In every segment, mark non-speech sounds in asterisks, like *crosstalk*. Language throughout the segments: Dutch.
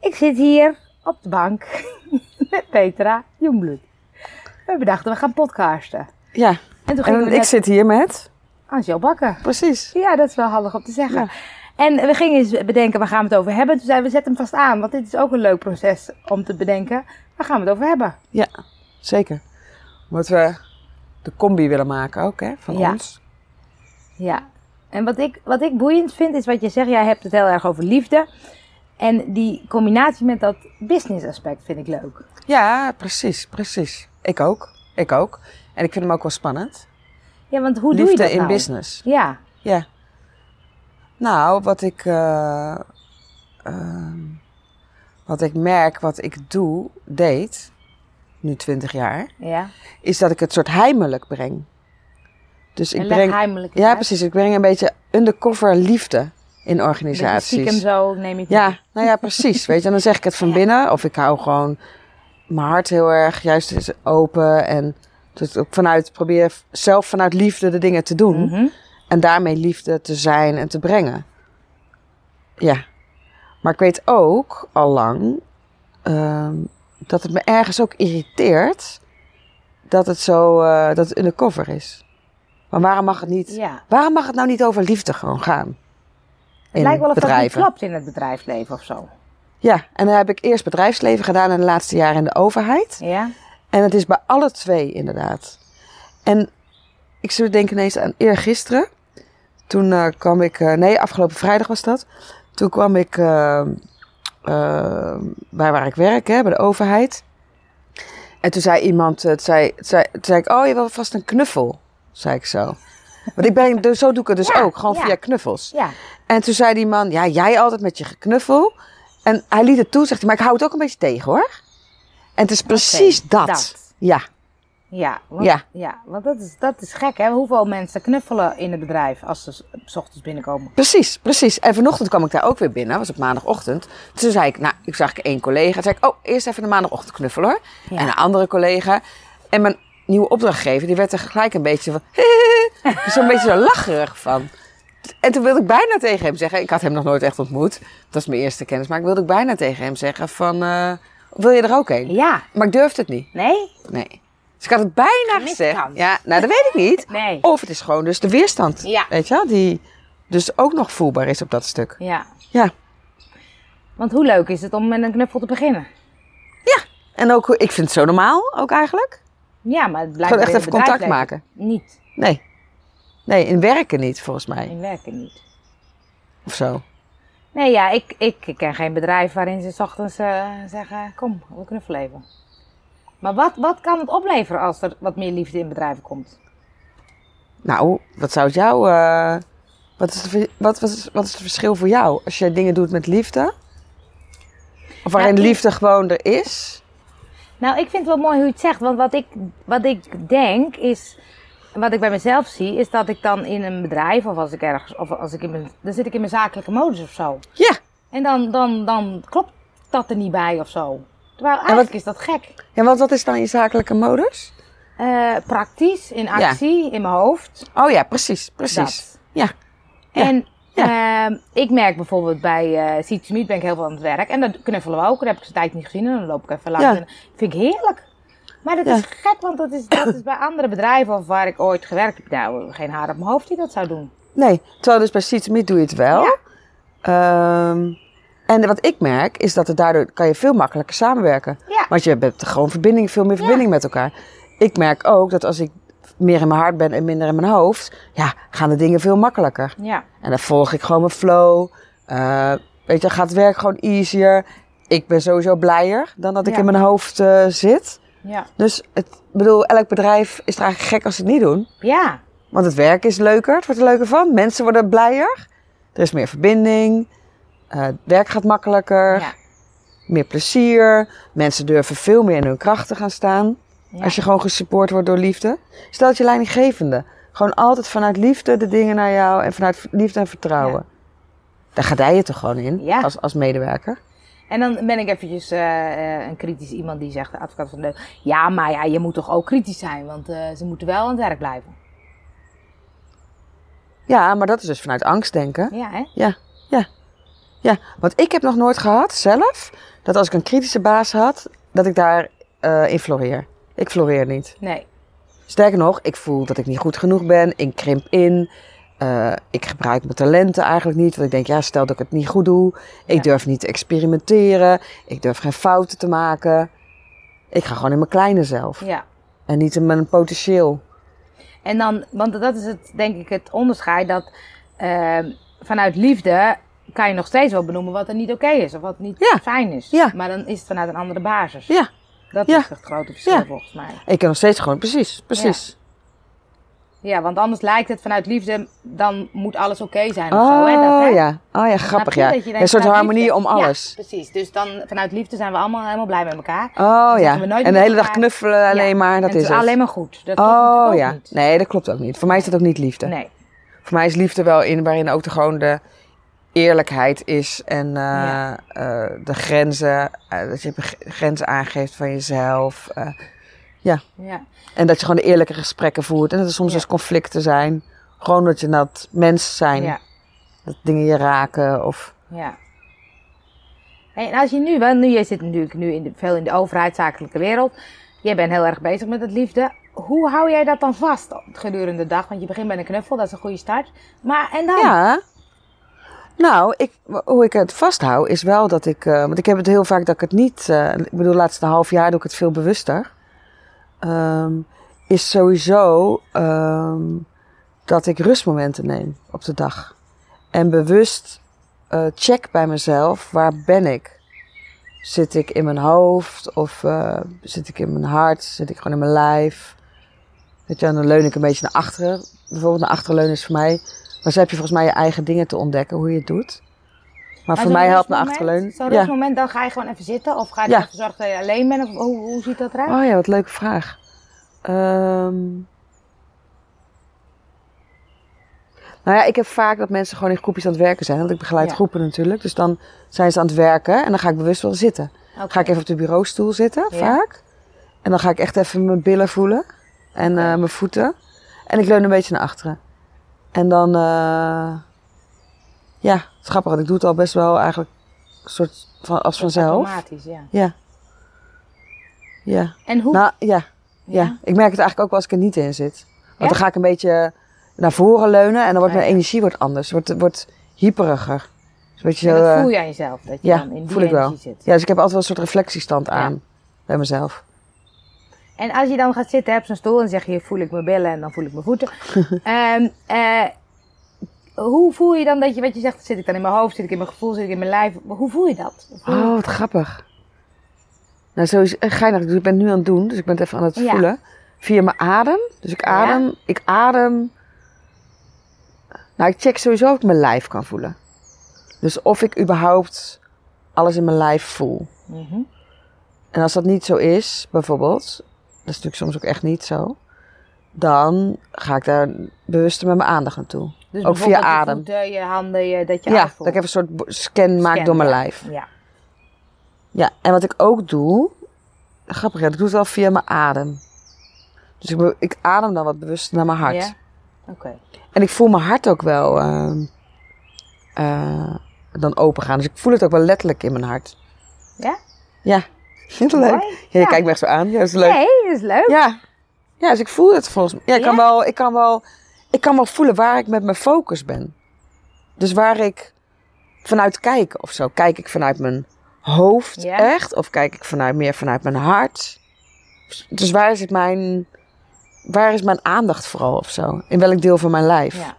Ik zit hier op de bank *laughs* met Petra Jongbloed. We bedachten, we gaan podcasten. Ja, En toen gingen en we ik met zit hier met. Angel Bakker. Precies. Ja, dat is wel handig om te zeggen. Ja. En we gingen eens bedenken, waar gaan we het over hebben? Toen zeiden we, zet hem vast aan, want dit is ook een leuk proces om te bedenken. Waar gaan we het over hebben? Ja, zeker. Omdat we de combi willen maken ook, hè, van Ja. ons. Ja. En wat ik, wat ik boeiend vind, is wat je zegt, jij hebt het heel erg over liefde. En die combinatie met dat business aspect vind ik leuk. Ja, precies, precies. Ik ook, ik ook. En ik vind hem ook wel spannend. Ja, want hoe doe Liefde je dat in nou? business. Ja, Ja. Nou, wat ik, eh, ehm, wat ik merk, wat ik doe, deed, nu 20 jaar, ja. is dat ik het soort heimelijk breng. Dus ik en leg breng. heimelijk Ja, precies. Ik breng een beetje undercover liefde in organisaties. Stiekem zo neem ik Ja, nou ja, precies. Weet je, en dan zeg ik het van binnen. Of ik hou gewoon mijn hart heel erg juist is open. En dus ook vanuit, probeer zelf vanuit liefde de dingen te doen. Mhm. En daarmee liefde te zijn en te brengen. Ja. Maar ik weet ook al lang ehm, dat het me ergens ook irriteert dat het zo eh dat het undercover is. Maar waarom mag het niet? Ja. Waarom mag het nou niet over liefde gewoon gaan? Het lijkt wel of dat bedrijven. niet klopt in het bedrijfsleven of zo. Ja, en dan heb ik eerst bedrijfsleven gedaan en de laatste jaren in de overheid. Ja? En het is bij alle twee inderdaad. En ik zou denken ineens aan eergisteren. Toen eh, kwam ik, eh, nee, afgelopen vrijdag was dat. Toen kwam ik eh, eh, bij waar ik werk, hè, bij de overheid. En toen zei iemand, eh, het zei, het zei, toen zei ik, oh je wil vast een knuffel, zei ik zo. Want ik ben, dus zo doe ik het dus Ja, ook, gewoon ja. via knuffels. Ja. En toen zei die man, ja, jij altijd met je geknuffel. En hij liet het toe, zegt hij, maar ik hou het ook een beetje tegen hoor. En het is precies dat. dat. Ja, Ja, want, ja. Ja. want dat is, dat is gek hè. Hoeveel mensen knuffelen in het bedrijf als ze s- s ochtends binnenkomen. precies, precies. En vanochtend kwam ik daar ook weer binnen, was op maandagochtend. Toen zei ik, nou, ik zag ik één collega. Toen zei ik, oh, eerst even de maandagochtend knuffel hoor. Ja. En een andere collega. En mijn nieuwe opdrachtgever, die werd er gelijk een beetje van, *laughs* zo'n beetje zo lacherig van. En toen wilde ik bijna tegen hem zeggen, ik had hem nog nooit echt ontmoet. Dat was mijn eerste kennis, maar ik wilde ik bijna tegen hem zeggen van, eh, wil je er ook een? Ja. Maar ik durfde het niet. Nee? Nee. Dus ik had het bijna Gemiste gezegd. kans. Ja, nou, dat weet ik niet. Nee. Of het is gewoon dus de weerstand. Ja. Weet je wel? Die dus ook nog voelbaar is op dat stuk. Ja. Ja. Want hoe leuk is het om met een knuffel te beginnen? Ja. En ook, ik vind het zo normaal ook eigenlijk. Ja, maar het blijft Gewoon echt in het even contact bedrijfsleven maken. Niet. Nee. Nee, in werken niet volgens mij. In werken niet. Of zo. Nee, ja, ik, ik ken geen bedrijf waarin ze 's ochtends eh, zeggen: Kom, we knuffelen even. Maar wat, wat kan het opleveren als er wat meer liefde in bedrijven komt? Nou, wat zou het jou... eh, wat, is de ver- wat, wat, is, wat is het verschil voor jou als jij dingen doet met liefde? Of waarin ik- liefde gewoon er is? Nou, ik vind het wel mooi hoe je het zegt. Want wat ik, wat ik denk is. Wat ik bij mezelf zie, is dat ik dan in een bedrijf of als ik ergens. Of als ik in mijn, dan zit ik in mijn zakelijke modus of zo. Ja. En dan, dan, dan klopt dat er niet bij of zo. Terwijl eigenlijk is dat gek. Ja, want wat is dan je zakelijke modus? Eh, praktisch, in Ja. actie, in mijn hoofd. Oh ja, precies. Precies. Dat. Ja. Ja. En ehm, ik merk bijvoorbeeld bij eh Seed to Meet ben ik heel veel aan het werk. En dat knuffelen we ook. Dan heb ik ze een tijd niet gezien. En dan loop ik even langs. Ja. En vind ik heerlijk. Maar dat Ja. is gek, want dat is, dat is bij andere bedrijven of waar ik ooit gewerkt heb. Nou, geen haar op mijn hoofd die dat zou doen. Nee, terwijl dus bij Seeds Meet doe je het wel. Ja. Ehm, en wat ik merk is dat het daardoor kan je veel makkelijker samenwerken. Ja. Want je hebt gewoon verbinding, veel meer verbinding met elkaar. Ik merk ook dat als ik meer in mijn hart ben en minder in mijn hoofd, ja, gaan de dingen veel makkelijker. Ja. En dan volg ik gewoon mijn flow. Eh, weet je, dan gaat het werk gewoon easier. Ik ben sowieso blijer dan dat ik Ja. in mijn hoofd eh, zit. Ja. Dus het, ik bedoel, elk bedrijf is er eigenlijk gek als ze het niet doen. Ja. Want het werk is leuker, het wordt er leuker van. Mensen worden blijer. Er is meer verbinding. eh, het werk gaat makkelijker. Ja. Meer plezier. Mensen durven veel meer in hun kracht te gaan staan. Ja. Als je gewoon gesupport wordt door liefde. Stel dat je leidinggevende. Gewoon altijd vanuit liefde de dingen naar jou. En vanuit v- liefde en vertrouwen. Daar ga jij je toch gewoon in. Ja. Als, als medewerker. En dan ben ik eventjes eh, eh, een kritisch iemand die zegt, de advocaat van de duivel, Ja, maar ja, je moet toch ook kritisch zijn, want eh, ze moeten wel aan het werk blijven. Ja, maar dat is dus vanuit angst denken. Ja, hè? Ja, ja. Ja, want ik heb nog nooit gehad zelf dat als ik een kritische baas had, dat ik daar eh, in floreer. Ik floreer niet. Nee. Sterker nog, ik voel dat ik niet goed genoeg ben. Ik krimp in. Eh, ik gebruik mijn talenten eigenlijk niet. Want ik denk, ja, stel dat ik het niet goed doe. Ik Ja. durf niet te experimenteren. Ik durf geen fouten te maken. Ik ga gewoon in mijn kleine zelf. Ja. En niet in mijn potentieel. En dan, want dat is het, denk ik, het onderscheid dat ehm, vanuit liefde kan je nog steeds wel benoemen wat er niet oké is of wat niet Ja. fijn is. Ja. Maar dan is het vanuit een andere basis. Ja, Dat Ja. is het grote verschil Ja. volgens mij. ik kan nog steeds gewoon, precies, precies. Ja, want anders lijkt het vanuit liefde, dan moet alles oké zijn of zo. Hè, dat, Oh hè? ja, oh ja, Snap grappig je? ja. Dat je denkt, Een soort vanuit harmonie liefde- om alles. Ja, precies. Dus dan vanuit liefde zijn we allemaal helemaal blij met elkaar. Oh Dan ja, zeggen we nooit en de met hele dag elkaar- knuffelen alleen Ja. maar, dat en het is is het. alleen maar goed. Dat klopt natuurlijk Oh ook ja, niet. nee, dat klopt ook niet. Voor mij is dat ook niet liefde. Nee. Voor mij is liefde wel in waarin ook de, gewoon de eerlijkheid is en eh, Ja. eh, de grenzen, eh, dat je be- grenzen aangeeft van jezelf. eh, Ja. en dat je gewoon de eerlijke gesprekken voert en dat er soms Ja. dus conflicten zijn. Gewoon dat je dat mens zijn, ja. dat dingen je raken of... Ja. Hey, en als je nu, want nu, je zit natuurlijk nu in de, veel in de overheidszakelijke wereld. Jij bent heel erg bezig met het liefde. Hoe hou jij dat dan vast gedurende de dag? Want je begint met een knuffel, dat is een goede start. Maar en dan? Ja. Nou, ik, hoe ik het vasthoud is wel dat ik. eh, want ik heb het heel vaak dat ik het niet. eh, ik bedoel, laatste half jaar doe ik het veel bewuster. Ehm, is sowieso ehm, dat ik rustmomenten neem op de dag. En bewust eh, check bij mezelf: waar ben ik? Zit ik in mijn hoofd of eh, zit ik in mijn hart? Zit ik gewoon in mijn lijf? Weet je, en dan leun ik een beetje naar achteren. Bijvoorbeeld naar achteren leunen is voor mij maar zo heb je volgens mij je eigen dingen te ontdekken, hoe je het doet. Maar, Maar voor zo'n mij helpt me rustmoment- achterleunen. Zo'n Ja. rustmoment, dan ga je gewoon even zitten? Of ga je Ja. ervoor zorgen dat je alleen bent? Of hoe, hoe ziet dat eruit? Oh ja, wat leuke vraag. Ehm, Nou ja, ik heb vaak dat mensen gewoon in groepjes aan het werken zijn. Want ik begeleid Ja. groepen natuurlijk. Dus dan zijn ze aan het werken en dan ga ik bewust wel zitten. Oké. Ga ik even op de bureaustoel zitten, Ja. vaak. En dan ga ik echt even mijn billen voelen. En eh, mijn voeten. En ik leun een beetje naar achteren. En dan... eh, Ja, het is grappig. want ik doe het al best wel eigenlijk soort van, als Dat is vanzelf. Automatisch, ja. Ja. Ja. En hoe? Nou, ja. Ja, ik merk het eigenlijk ook wel als ik er niet in zit. Want dan Ja? ga ik een beetje naar voren leunen en dan wordt Ah, mijn ja. energie wordt anders. Wordt, wordt hyperiger. Dus weet je En zo, dat eh, voel je aan jezelf, dat je ja, dan in die voel ik wel. energie zit. ja, dus ik heb altijd wel een soort reflectiestand aan bij mezelf. En als je dan gaat zitten op zo'n stoel en zeg je voel ik mijn billen en dan voel ik mijn *laughs* voeten. Ehm, eh, hoe voel je dan dat je wat je zegt, zit ik dan in mijn hoofd, zit ik in mijn gevoel, zit ik in mijn lijf? Hoe voel je dat? Voel je- Oh, wat grappig. Nou, zo is eh, geinig. Dus ik ben het nu aan het doen, dus ik ben het even aan het Ja. voelen. Via mijn adem. Dus ik Ja. adem, ik adem. Nou, ik check sowieso of ik mijn lijf kan voelen. Dus of ik überhaupt alles in mijn lijf voel. Mhm. En als dat niet zo is, bijvoorbeeld, dat is natuurlijk soms ook echt niet zo, dan ga ik daar bewuster met mijn aandacht naartoe. Dus Ook via bijvoorbeeld je adem. voeten, je handen, je, dat je Ja, alles dat voelt. ik even een soort bo- scan maak Scan, door mijn ja. lijf. Ja. Ja, en wat ik ook doe, grappig, ja, ik doe het wel via mijn adem. Dus ik, be- ik adem dan wat bewust naar mijn hart. Ja? Oké. En ik voel mijn hart ook wel ehm, eh, dan open gaan. Dus ik voel het ook wel letterlijk in mijn hart. Ja? Ja, *laughs* heel Mooi. leuk. Ja, je Ja. kijkt me echt zo aan. Ja, dat is leuk. Nee, dat is leuk. Ja. Ja, dus ik voel het volgens mij. Ja, ik, Kan Ja? wel, ik, kan wel, ik kan wel voelen waar ik met mijn focus ben. Dus waar ik vanuit kijk of zo. Kijk ik vanuit mijn hoofd Ja. echt? Of kijk ik vanuit, meer vanuit mijn hart? Dus waar is, het mijn, waar is mijn aandacht vooral of zo? In welk deel van mijn lijf? Ja.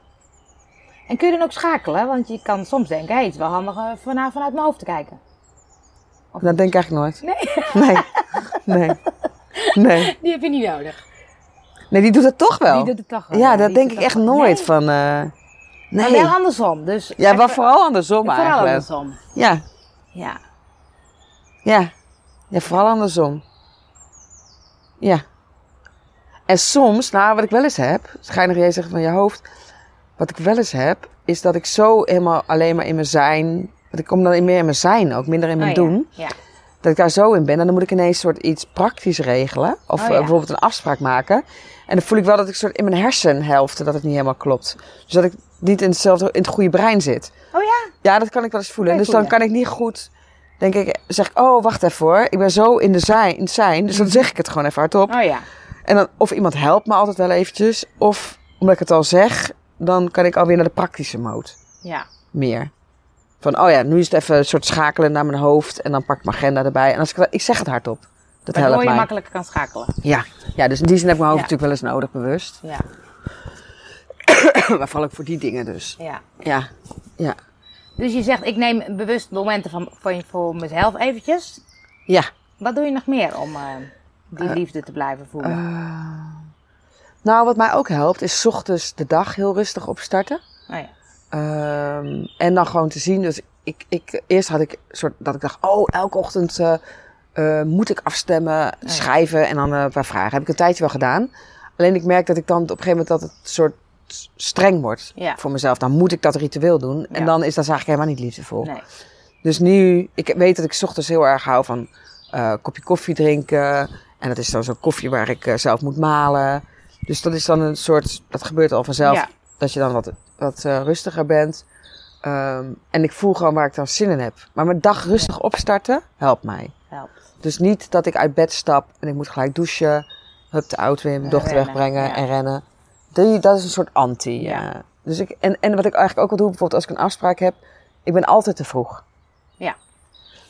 En kun je dan ook schakelen? Want je kan soms denken, hé, het is wel handig eh, vanaf, vanuit mijn hoofd te kijken. Nou, Dat denk ik eigenlijk nooit. Nee, Nee. Nee. Nee. die heb je niet nodig. Nee, die doet het toch wel. Die doet het toch wel. ja, dat die denk doet ik het echt toch wel. nooit Nee, van. eh, nee. Maar wel andersom. Dus Ja, maar even- vooral andersom Vooral eigenlijk. andersom. Ja, Ja. Ja. Ja, vooral andersom. Ja. En soms, nou, wat ik wel eens heb, schijnig jij zegt van je hoofd. Wat ik wel eens heb, is dat ik zo helemaal alleen maar in mijn zijn. Want ik kom dan meer in mijn zijn ook, minder in mijn Oh, ja. doen. Ja. Dat ik daar zo in ben. En dan moet ik ineens soort iets praktisch regelen. Of Oh, eh, ja. bijvoorbeeld een afspraak maken. En dan voel ik wel dat ik soort in mijn hersenhelften dat het niet helemaal klopt. Dus dat ik niet in, hetzelfde, in het goede brein zit. Oh ja? Ja, dat kan ik wel eens voelen. Kan je dus dan voelen? kan ik niet goed denk ik, zeg ik, oh, wacht even hoor. Ik ben zo in, de zijn, in het zijn, dus dan zeg ik het gewoon even hardop. Oh Mm. ja. En dan, of iemand helpt me altijd wel eventjes. Of omdat ik het al zeg, dan kan ik alweer naar de praktische mode. Ja. Meer. Van, oh ja, nu is het even een soort schakelen naar mijn hoofd. En dan pak ik mijn agenda erbij. En als ik, ik zeg het hardop. Dat helpt Waardoor je mij. makkelijker kan schakelen. Ja. ja, dus in die zin heb ik mijn hoofd Ja. natuurlijk wel eens nodig, bewust. *coughs* Ja. maar val ik voor die dingen dus. ja. Ja. Ja. Dus je zegt, ik neem bewust momenten van, van, voor mezelf eventjes. Ja. Wat doe je nog meer om eh, die liefde te blijven voelen? Eh, Nou, wat mij ook helpt, is 's ochtends de dag heel rustig opstarten. oh ja. Ehm, en dan gewoon te zien. Dus ik, ik, eerst had ik soort dat ik dacht, oh, elke ochtend eh, eh, moet ik afstemmen, ja. schrijven en dan eh, een paar vragen. Heb ik een tijdje wel gedaan. Alleen ik merk dat ik dan op een gegeven moment dat het soort streng wordt Ja. voor mezelf. Dan moet ik dat ritueel doen. En Ja. dan is dat eigenlijk helemaal niet liefdevol. Nee. Dus nu, ik weet dat ik 's ochtends heel erg hou van eh, een kopje koffie drinken. En dat is dan zo'n koffie waar ik eh, zelf moet malen. Dus dat is dan een soort, dat gebeurt al vanzelf. Ja. Dat je dan wat, wat eh, rustiger bent. Ehm, en ik voel gewoon waar ik dan zin in heb. Maar mijn dag rustig opstarten helpt mij. Helpt. Dus niet dat ik uit bed stap en ik moet gelijk douchen. Hup de auto weer, mijn En dochter rennen, wegbrengen ja. en rennen. Die, dat is een soort anti. Ja. ja. Dus ik, en, en wat ik eigenlijk ook wel doe, bijvoorbeeld als ik een afspraak heb. Ik ben altijd te vroeg. Ja.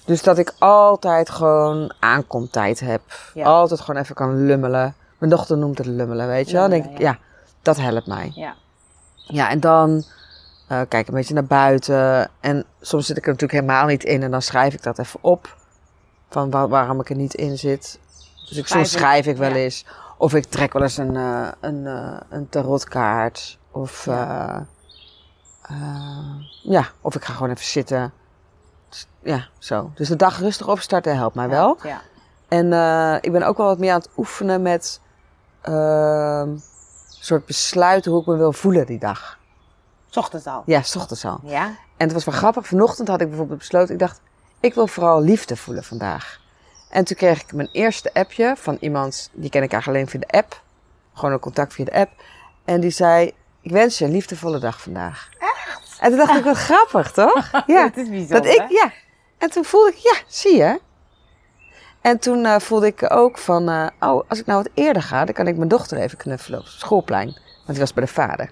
Dus dat ik altijd gewoon aankomtijd heb. Ja. Altijd gewoon even kan lummelen. Mijn dochter noemt het lummelen, weet je wel. Dan denk ik, Lummelen, ja, dat helpt mij. Ja. Ja, en dan eh, kijk ik een beetje naar buiten. En soms zit ik er natuurlijk helemaal niet in. En dan schrijf ik dat even op. Van wa- waarom ik er niet in zit. Dus ik, soms Schrijven, schrijf ik wel ja. eens. Of ik trek wel eens een, eh, een, eh, een tarotkaart. Of Ja. eh, eh, ja, of ik ga gewoon even zitten. Dus, Ja, zo. Dus de dag rustig opstarten helpt mij wel. Helpt, Ja. En eh, ik ben ook wel wat meer aan het oefenen met ehm soort besluiten hoe ik me wil voelen die dag. S Ochtends al. Ja, s ochtends al. Ja. En het was wel grappig. Vanochtend had ik bijvoorbeeld besloten, ik dacht, ik wil vooral liefde voelen vandaag. En toen kreeg ik mijn eerste appje van iemand, die ken ik eigenlijk alleen via de app. Gewoon een contact via de app. En die zei, ik wens je een liefdevolle dag vandaag. Echt? En toen dacht ik, wat grappig toch? Ja. Dat is bijzonder. Dat ik, ja. En toen voelde ik, ja, zie je. En toen eh, voelde ik ook van, eh, oh, als ik nou wat eerder ga, dan kan ik mijn dochter even knuffelen op het schoolplein. Want die was bij de vader.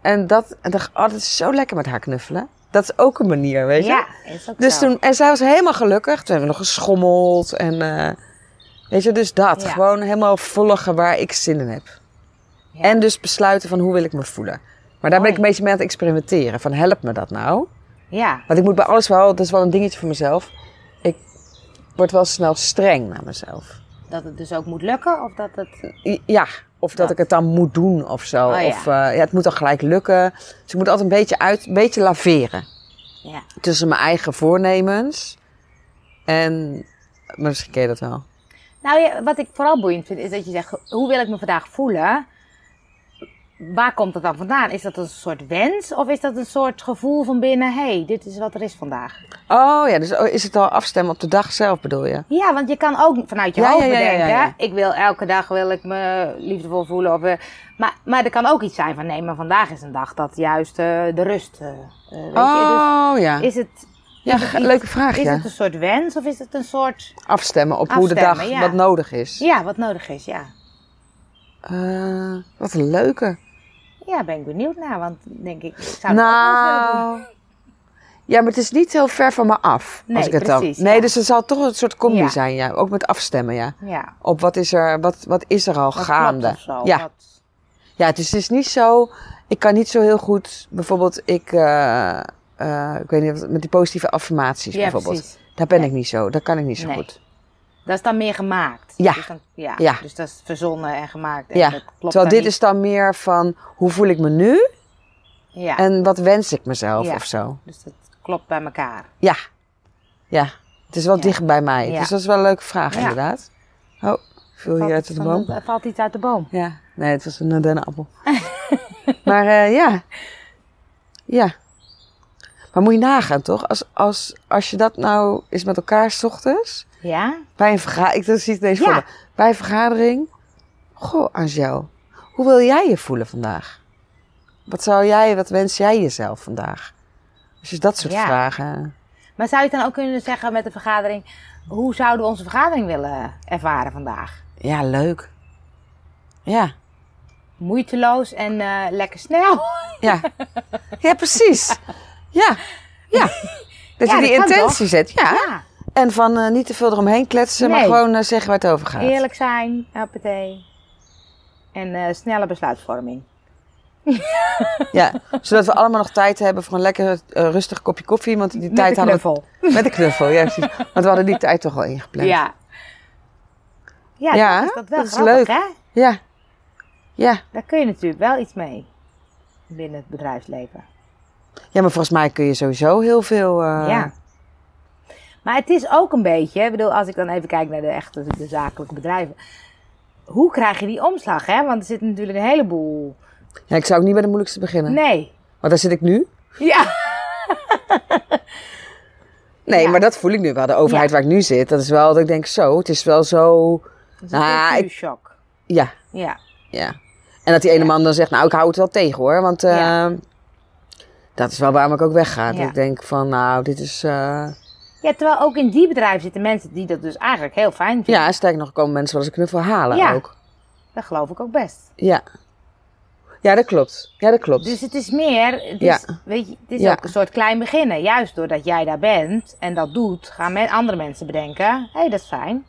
En dat, en dacht, oh, dat is zo lekker met haar knuffelen. Dat is ook een manier, weet je. Ja, is ook Dus zo. toen, en zij was helemaal gelukkig. Toen hebben we nog geschommeld en, eh, weet je, dus dat. Ja. Gewoon helemaal volgen waar ik zin in heb. Ja. En dus besluiten van hoe wil ik me voelen. Maar daar ben Mooi. ik een beetje mee aan het experimenteren. Van help me dat nou? Ja. Want ik moet bij alles wel, dat is wel een dingetje voor mezelf. Ik word wel snel streng naar mezelf. Dat het dus ook moet lukken of dat het... eh, I- Ja, of dat, Dat. ik het dan moet doen of zo. Oh ja. Of eh, ja, het moet dan gelijk lukken. Dus ik moet altijd een beetje uit, een beetje laveren. Ja. Tussen mijn eigen voornemens en. Maar misschien ken je dat wel. Nou, ja, wat ik vooral boeiend vind, is dat je zegt, hoe wil ik me vandaag voelen? Waar komt dat dan vandaan? Is dat een soort wens of is dat een soort gevoel van binnen, hé, hey, dit is wat er is vandaag? Oh ja, dus oh, is het al afstemmen op de dag zelf bedoel je? Ja, want je kan ook vanuit je Ja, hoofd ja, ja, ja, bedenken, ja. ik wil elke dag wil ik me liefdevol voelen. Of, eh, maar, maar er kan ook iets zijn van, nee, maar vandaag is een dag dat juist eh, de rust, eh, eh, weet je. oh ja. Dus is het, ja, ge- leuke vraag. is ja. het een soort wens of is het een soort, Afstemmen op hoe de dag Afstemmen, ja. wat nodig is. ja, wat nodig is, ja. Eh, wat een leuke. Ja, ben ik benieuwd naar, want denk ik, ik zou het ook wel eens willen doen. nou. Ja, maar het is niet heel ver van me af. Nee, als ik het precies, dan... Nee, ja. dus het zal toch een soort combi Ja. zijn, ja. Ook met afstemmen, ja. Ja, Op wat is er, wat, wat is er al wat gaande. klopt dus of zo. ja. wat- ja, dus het is niet zo. Ik kan niet zo heel goed. Bijvoorbeeld, ik. eh, eh, ik weet niet, wat- met die positieve affirmaties ja, bijvoorbeeld. precies. Daar ben Nee. ik niet zo. Daar kan ik niet zo Nee. goed. Dat is dan meer gemaakt. Ja. Dus, dan, ja. Ja. dus dat is verzonnen en gemaakt. En Ja. dat klopt Terwijl dan dit niet. is dan meer van hoe voel ik me nu Ja. en wat wens ik mezelf Ja. of zo. Dus dat klopt bij elkaar. Ja. Ja. Het is wel Ja. dicht bij mij. Ja. Dus dat is wel een leuke vraag, Ja. inderdaad. Oh, ik viel hier uit de van boom. de- valt iets uit de boom. Ja. Nee, het was een eh, *laughs* dennenappel. maar eh, ja. Ja. Maar moet je nagaan, toch? Als, als, als je dat nou eens met elkaar 's ochtends... Ja? Bij een vergadering... Ik zie het ineens Ja. voor me. Bij een vergadering... Goh, Angel. Hoe wil jij je voelen vandaag? Wat zou jij... Wat wens jij jezelf vandaag? Dus dat soort Ja. vragen... Maar zou je het dan ook kunnen zeggen met de vergadering, hoe zouden we onze vergadering willen ervaren vandaag? Ja, leuk. Ja, Moeiteloos en eh, lekker snel. ja. Ja, precies. Ja, *laughs* ja. Ja, Dat je dat die kan intentie toch? zet. Ja. Ja, En van eh, niet te veel eromheen kletsen, maar Nee. gewoon eh, zeggen waar het over gaat. eerlijk zijn, appetee. En eh, snelle besluitvorming. Ja, zodat we allemaal nog tijd hebben voor een lekker eh, rustig kopje koffie. Want die Met tijd de hadden we... knuffel. Met een knuffel, ja precies. Want we hadden die tijd toch al ingepland. Ja. Ja, Ja, dat is dat wel dat is grappig, leuk. hè? Ja. Ja. Daar kun je natuurlijk wel iets mee binnen het bedrijfsleven. Ja, maar volgens mij kun je sowieso heel veel... eh, Ja. Maar het is ook een beetje, hè, ik bedoel, als ik dan even kijk naar de echte de zakelijke bedrijven. Hoe krijg je die omslag, hè? Want er zit natuurlijk een heleboel. ja, ik zou ook niet bij de moeilijkste beginnen. Nee. Want daar zit ik nu. Ah, Ja. Nee, Ja. maar dat voel ik nu wel. De overheid waar ik nu zit, dat is wel dat ik denk zo. Het is wel zo... Dat is Ah, ik- een shock. Ja, Ja. ja. En dat die ene Ja. man dan zegt, nou ik hou het wel tegen hoor. Want eh, Ja. dat is wel waarom ik ook wegga. Dat Ja. ik denk van, nou dit is... eh, ja, terwijl ook in die bedrijven zitten mensen die dat dus eigenlijk heel fijn vinden. Ja, sterker nog, komen mensen wel eens een knuffel halen Ja. ook. Dat geloof ik ook best. Ja. Ja, dat klopt. Ja, dat klopt. Dus het is meer, het Ja. is, weet je, het is Ja. ook een soort klein beginnen. Juist doordat jij daar bent en dat doet, gaan men, andere mensen bedenken, hé, hey, dat is fijn.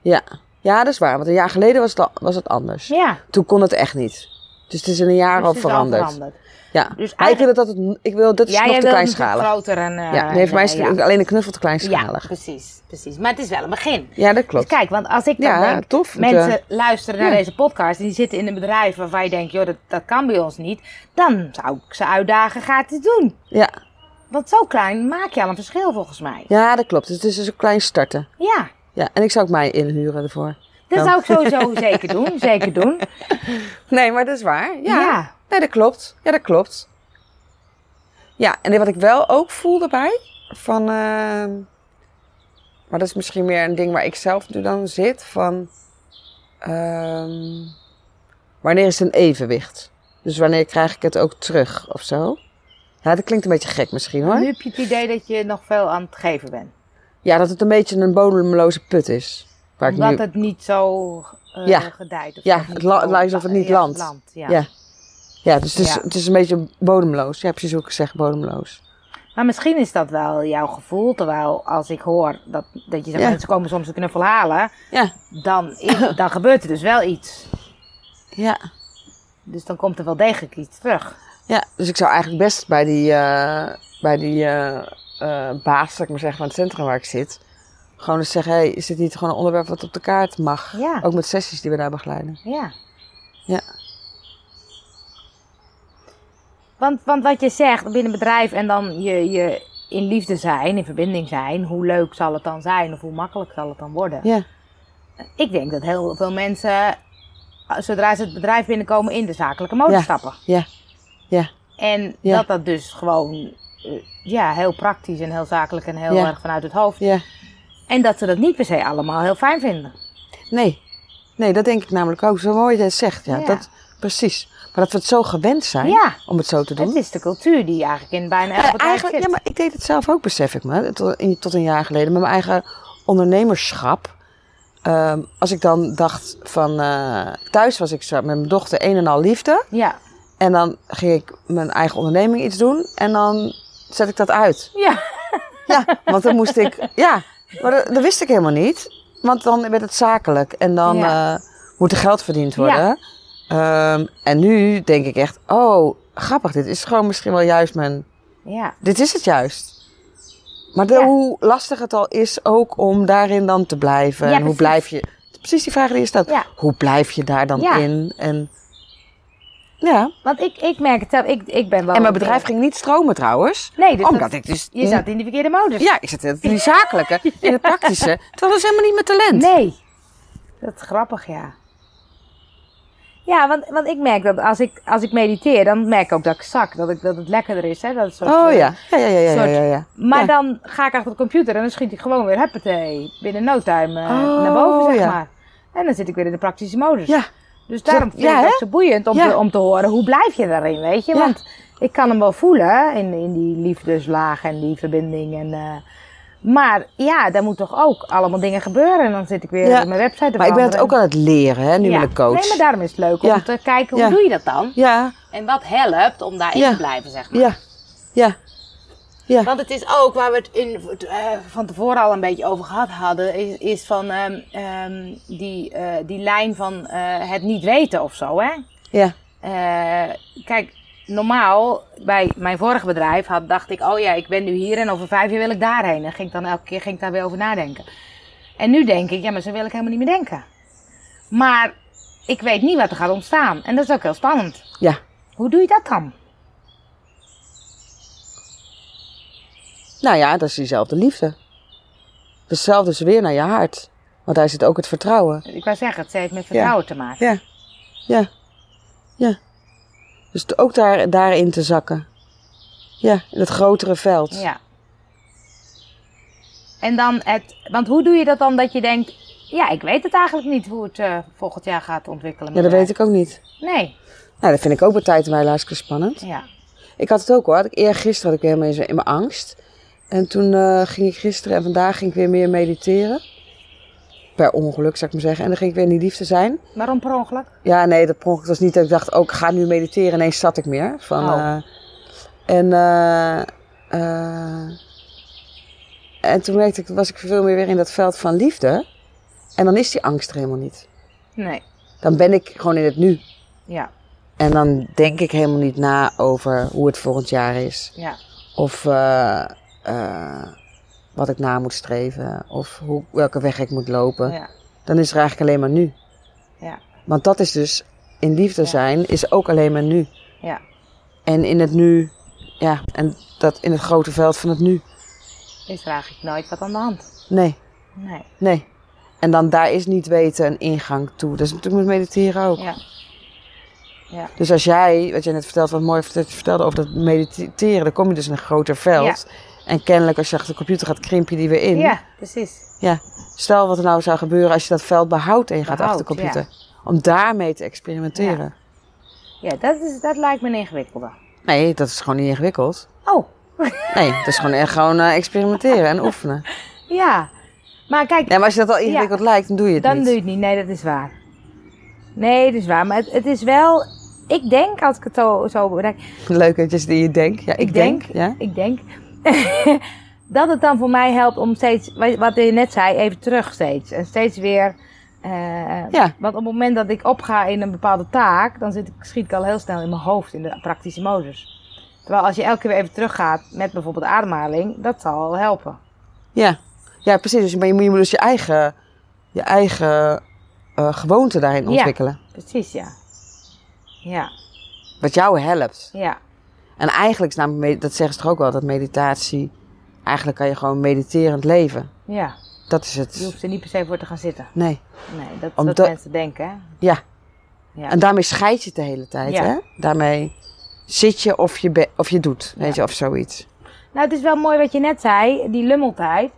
Ja. ja, dat is waar. Want een jaar geleden was het, al- was het anders. Ja. Toen kon het echt niet. Dus het is in een jaar Dus al het is al veranderd. Ja. Dus Maar ik wil eigenlijk- dat, het, ik wil, dat is Ja, nog jij te wil het kleinschalig. natuurlijk groter en... eh, ja, nee, voor mij is eh, het ja. alleen de knuffel te Ja, kleinschalig. Ja, precies, precies. Maar het is wel een begin. dat klopt. Dus kijk, want als ik dan Ja, denk, tof. Want, mensen eh, luisteren naar ja. deze podcast en die zitten in een bedrijf waarvan je denkt, joh, dat, dat kan bij ons niet. Dan zou ik ze uitdagen, ga het eens doen. ja. Want zo klein maak je al een verschil volgens mij. ja, dat klopt. Dus het is dus een klein starten. Ja, Ja, en ik zou ook mij inhuren ervoor. dat Ja. zou ik sowieso *laughs* zeker doen, zeker doen. Nee, maar dat is waar. Ja. Ja. Nee, dat klopt. Ja, dat klopt. Ja, en wat ik wel ook voel daarbij, van... ehm, maar dat is misschien meer een ding waar ik zelf nu dan zit, van... ehm, wanneer is het een evenwicht? Dus wanneer krijg ik het ook terug, of zo? Ja, dat klinkt een beetje gek misschien, hoor. Nu heb je het idee dat je nog veel aan het geven bent. Ja, dat het een beetje een bodemloze put is. Waar ik Omdat nu... het niet zo eh Ja. gedijt. Of Ja, dat het la- zo- het lijkt alsof het niet Ja, landt. ja. Ja. Ja, dus het is, Ja. het is een beetje bodemloos. Ja, precies hoe ik zeg, bodemloos. Maar misschien is dat wel jouw gevoel. Terwijl als ik hoor dat, dat je zegt, Ja. mensen komen soms een knuffel halen. Ja, Dan, i- *laughs* dan gebeurt er dus wel iets. ja. Dus dan komt er wel degelijk iets terug. Ja, dus ik zou eigenlijk best bij die, eh, bij die eh, eh, baas, zal ik maar zeggen, van het centrum waar ik zit, gewoon eens zeggen: hey, is dit niet gewoon een onderwerp wat op de kaart mag? Ja. Ook met sessies die we daar begeleiden. Ja. Ja. Want, want wat je zegt binnen bedrijf en dan je, je in liefde zijn, in verbinding zijn. Hoe leuk zal het dan zijn of hoe makkelijk zal het dan worden? Ja, Ik denk dat heel veel mensen, zodra ze het bedrijf binnenkomen, in de zakelijke motor Ja. stappen. ja, ja, En Ja. dat dat dus gewoon eh, ja, heel praktisch en heel zakelijk en heel Ja. erg vanuit het hoofd. ja. En dat ze dat niet per se allemaal heel fijn vinden. Nee, nee, dat denk ik namelijk ook. Zo mooi je dat zegt, ja. Ja. Dat, precies. Maar dat we het zo gewend zijn Ja. om het zo te doen. Het is de cultuur die eigenlijk in bijna elk Eh, bedrijf eigenlijk, zit. ja, maar ik deed het zelf ook, besef ik me. Tot, in- tot een jaar geleden met mijn eigen ondernemerschap. Ehm, als ik dan dacht van... eh, thuis was ik zo met mijn dochter een en al liefde. ja. En dan ging ik mijn eigen onderneming iets doen. En dan zet ik dat uit. Ja. *laughs* Ja, want dan moest ik... Ja, maar dat, dat wist ik helemaal niet. Want dan werd het zakelijk. En dan Ja. eh, moet er geld verdiend Ja. worden. Ehm, en nu denk ik echt... Oh, grappig. Dit is gewoon misschien wel juist mijn ja. dit is het juist. Maar de- Ja. hoe lastig het al is ook om daarin dan te blijven. Ja, en hoe precies. blijf je... Precies die vraag die je stelt. Ja. Hoe blijf je daar dan Ja. in? En, ja. Want ik, ik merk het zelf. Ik, ik ben wel... en mijn bedrijf ging niet stromen trouwens. Oh, Nee, dus omdat dat- ik dus... Je zat in de verkeerde modus. Ja, ik zat in die *laughs* zakelijke, in het praktische. Terwijl dat is helemaal niet mijn talent. Nee. Dat is grappig, ja. Ja, want, want ik merk dat als ik, als ik mediteer, dan merk ik ook dat ik zak. Dat, ik, dat het lekkerder is. Hè? Dat is soort, Oh eh, ja. Ja, ja, ja, ja, ja, soort- ja, ja. Maar Ja. dan ga ik achter de computer en dan schiet ik gewoon weer huppatee binnen no time eh, Oh, naar boven, zeg ja. maar. En dan zit ik weer in de praktische modus. Ja. Dus daarom vind ja, ik hè? het zo boeiend om, Ja. te, om te horen hoe blijf je daarin, weet je? Ja. Want ik kan hem wel voelen in, in die liefdeslaag en die verbinding. En, eh, maar ja, daar moet toch ook allemaal dingen gebeuren. En dan zit ik weer Ja. op mijn website te Maar ik ben het veranderen. ook aan het leren, hè, nu Ja. met een coach. Nee, maar daarom is het leuk om Ja. te kijken hoe Ja. doe je dat dan? Ja, En wat helpt om daarin Ja. te blijven, zeg maar. ja, ja. Ja, Want het is ook waar we het in, eh, van tevoren al een beetje over gehad hadden, is, is van ehm, ehm, die, eh, die lijn van eh, het niet weten of zo. Hè? ja, Eh, kijk, normaal bij mijn vorige bedrijf had, dacht ik, oh ja, ik ben nu hier en over vijf jaar wil ik daarheen. En ging ik dan elke keer ging ik daar weer over nadenken. En nu denk ik, ja, maar zo wil ik helemaal niet meer denken. Maar ik weet niet wat er gaat ontstaan. En dat is ook heel spannend. ja. Hoe doe je dat dan? Nou ja, dat is diezelfde liefde. Hetzelfde is weer naar je hart. Want daar zit ook het vertrouwen. Ik wou zeggen, het heeft met vertrouwen te maken. Ja. Ja. Ja. Dus t- ook daar, daarin te zakken. Ja, in het grotere veld. Ja. En dan het, want hoe doe je dat dan dat je denkt, ja, ik weet het eigenlijk niet hoe het eh, volgend jaar gaat ontwikkelen. Ja, dat weet ik ook niet. Nee, Nou, dat vind ik ook bij tijd en bij luisteren spannend. ja. Ik had het ook hoor. Eergisteren had ik weer helemaal in zo- in mijn angst. En toen eh, ging ik gisteren en vandaag ging ik weer meer mediteren. Per ongeluk, zou ik maar zeggen. En dan ging ik weer in die liefde zijn. Waarom per ongeluk? Ja, nee, dat per ongeluk was niet dat ik dacht, oh, ik ga nu mediteren. Ineens zat ik meer. Van, Oh. eh, en, eh, eh, en toen merkte ik, was ik veel meer weer in dat veld van liefde. En dan is die angst er helemaal niet. Nee, Dan ben ik gewoon in het nu. ja, En dan denk ik helemaal niet na over hoe het volgend jaar is. ja, Of eh, eh, wat ik na moet streven. Of hoe, welke weg ik moet lopen. ja, Dan is er eigenlijk alleen maar nu. ja, Want dat is dus, in liefde Ja. zijn, is ook alleen maar nu. ja. En in het nu, ja, en dat in het grote veld van het nu. Is er eigenlijk nooit wat aan de hand? Nee, Nee, nee. En dan daar is niet weten een ingang toe. Dat is natuurlijk met mediteren ook. ja, Dus als jij, wat jij net vertelde, wat mooi vertelt- vertelde over dat mediteren, dan kom je dus in een groter veld. En kennelijk als je achter de computer gaat, krimp je die weer in. ja, precies. Ja. Stel wat er nou zou gebeuren als je dat veld behoudt en je gaat Behoudt, achter de computer. Om daarmee te experimenteren. Ja, dat, is, dat lijkt me een ingewikkelde. Nee, dat is gewoon niet ingewikkeld. Oh, Nee, dat is gewoon, echt gewoon eh, experimenteren en oefenen. ja. Maar kijk, Nee, maar als je dat al ingewikkeld lijkt, dan doe je het Dan niet. doe je het niet. Nee, dat is waar. Nee, dat is waar. Maar het, het is wel... Ik denk, als ik het zo, zo bedenk... *laughs* Leuk dat je die je denkt. Ja, ik, Ik denk. denk, Ja? ik denk *laughs* dat het dan voor mij helpt om steeds, wat- wat je net zei, even terug steeds. En steeds weer... eh, Ja. Want op het moment dat ik opga in een bepaalde taak, dan zit ik, schiet ik al heel snel in mijn hoofd, in de praktische modus. Terwijl als je elke keer weer even teruggaat met bijvoorbeeld ademhaling, dat zal al helpen. ja. Ja, precies. Dus, maar je moet, je moet dus je eigen, je eigen eh, gewoonte daarin Ja. ontwikkelen. Precies, ja. Ja, Wat jou helpt. ja. En eigenlijk, is namelijk, med- dat zeggen ze toch ook wel, dat meditatie... Eigenlijk kan je gewoon mediterend leven. Ja, Dat is je het. hoeft er niet per se voor te gaan zitten. Nee. Nee, dat is Omdat- wat mensen denken. hè? Ja. Ja. En daarmee scheid je het de hele tijd, Ja. hè? Daarmee zit je of je, be- of je doet, weet je, of zoiets. Nou, het is wel mooi wat je net zei, die lummeltijd.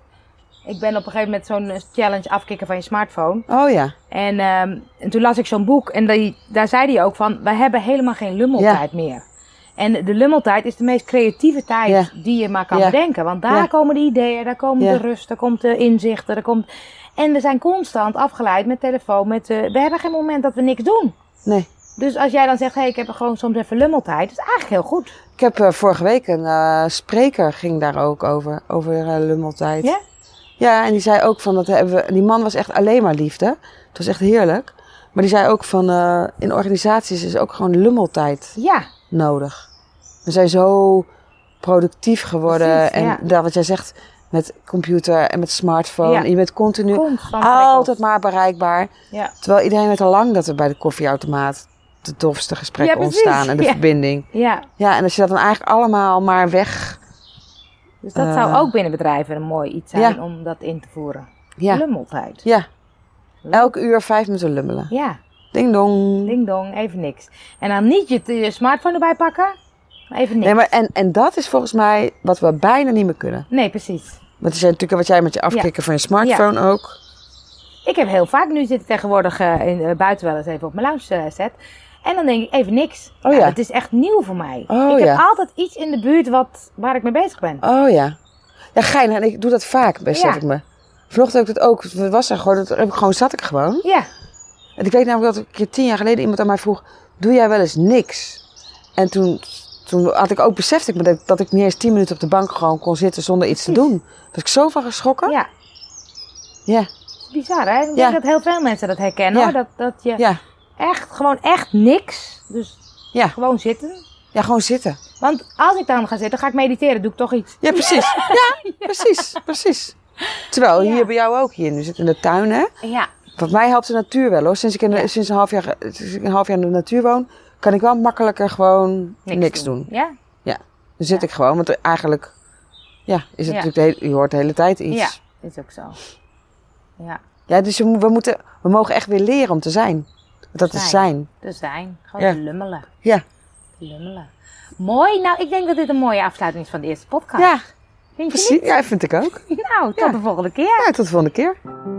Ik ben op een gegeven moment zo'n eh, challenge afkicken van je smartphone. Oh ja. En, ehm, en toen las ik zo'n boek en die, daar zei hij ook van, we hebben helemaal geen lummeltijd meer. En de lummeltijd is de meest creatieve tijd Ja. die je maar kan Ja. bedenken. Want daar Ja. komen de ideeën, daar komen Ja. de rust, daar komt de inzichten, daar komt... En we zijn constant afgeleid met telefoon, met... eh, we hebben geen moment dat we niks doen. Nee. Dus als jij dan zegt, hé, hey, ik heb gewoon soms even lummeltijd, dat is eigenlijk heel goed. Ik heb eh, vorige week een eh, spreker ging daar ook over, over eh, lummeltijd. Ja? Ja, en die zei ook van dat hebben we, die man was echt alleen maar liefde. Het was echt heerlijk. Maar die zei ook van eh, in organisaties is ook gewoon lummeltijd Ja, nodig. We zijn zo productief geworden Precies, en ja. daar wat jij zegt met computer en met smartphone. Ja. En je bent continu constant. prikkels. altijd maar bereikbaar. Ja. Terwijl iedereen weet al lang dat er bij de koffieautomaat de tofste gesprekken Ja, precies, ontstaan en de ja. verbinding. Ja, Ja, en als je dat dan eigenlijk allemaal maar weg. dus dat Eh, zou ook binnen bedrijven een mooi iets zijn ja. om dat in te voeren. Ja, Lummeltijd. ja. elk uur vijf minuten lummelen. Ja, Ding dong. ding dong, even niks. En dan niet je, je smartphone erbij pakken, maar even niks. Nee, maar en, en dat is volgens mij wat we bijna niet meer kunnen. Nee, precies. Want het is natuurlijk wat jij met je afklikken van je smartphone ook. Ik heb heel vaak, nu zit ik tegenwoordig eh, in, eh, buiten wel eens even op mijn lounge eh, set. En dan denk ik even niks. Oh Nou, ja. Het is echt nieuw voor mij. Oh ik heb ja. altijd iets in de buurt wat, waar ik mee bezig ben. Oh ja. Ja, gein. En ik doe dat vaak, besef Ja. ik me. Vanochtend heb ik dat ook. Het was er gewoon, dat heb ik gewoon, zat ik gewoon. Ja, En ik weet namelijk dat een keer tien jaar geleden iemand aan mij vroeg, doe jij wel eens niks? En toen, toen had ik ook besefte ik me dat, dat ik niet eens tien minuten op de bank gewoon kon zitten zonder iets te Precies. doen. Was ik zo van geschrokken. ja. Ja. Bizar, hè? Ik Oh. Ja. denk dat heel veel mensen dat herkennen. Ja. hoor. Dat, dat je Ja. echt, gewoon echt niks. Dus Ja. gewoon zitten. Ja, gewoon zitten. Want als ik dan ga zitten, ga ik mediteren, doe ik toch iets. Ja, precies. Ja, precies, precies. Terwijl Ja. hier bij jou ook hier. Nu zit in de tuin, hè? Ja. Wat mij helpt de natuur wel hoor. Sinds ik, in de- sinds een, half jaar, sinds ik een half jaar in de natuur woon, kan ik wel makkelijker gewoon niks, doen. Ja. Dan zit Ja. ik gewoon, want er eigenlijk ja, is het Ja. natuurlijk de hele- je hoort de hele tijd iets. Ja, Ja, is ook zo. Ja, dus je moet- we, moeten, we mogen echt weer leren om te zijn. Want Dat is Zijn. zijn. er zijn. Gewoon Ja. te lummelen. Ja. Te Lummelen. Mooi. Nou, ik denk dat dit een mooie afsluiting is van de eerste podcast. Ja, Vind je precies. Ja, vind ik ook. niet? Nou, tot Ja. de volgende keer. Ja, tot de volgende keer.